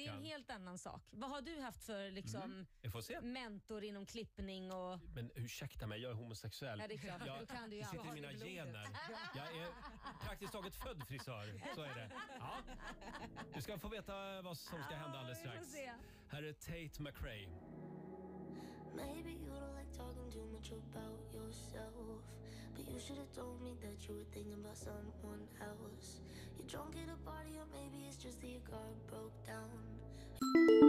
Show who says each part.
Speaker 1: helt annan sak. Vad har du haft för liksom,
Speaker 2: Vi får se.
Speaker 1: mentor inom klippning och...
Speaker 2: Men ursäkta mig, jag är homosexuell.
Speaker 1: Ja, det är klart.
Speaker 2: Jag,
Speaker 1: Då kan du ju
Speaker 2: det sitter i
Speaker 1: allt.
Speaker 2: mina
Speaker 1: Har du blodet?
Speaker 2: gener. Jag är praktiskt taget född frisör. Så är det. Ja. Du ska få veta vad som ska hända alldeles
Speaker 1: vi får
Speaker 2: strax.
Speaker 1: se.
Speaker 2: Här är Tate McRae.
Speaker 3: Maybe you don't like talking too much about yourself. But you should have told me that you were thinking about someone else. You're drunk at a party, or maybe it's just that your car broke down.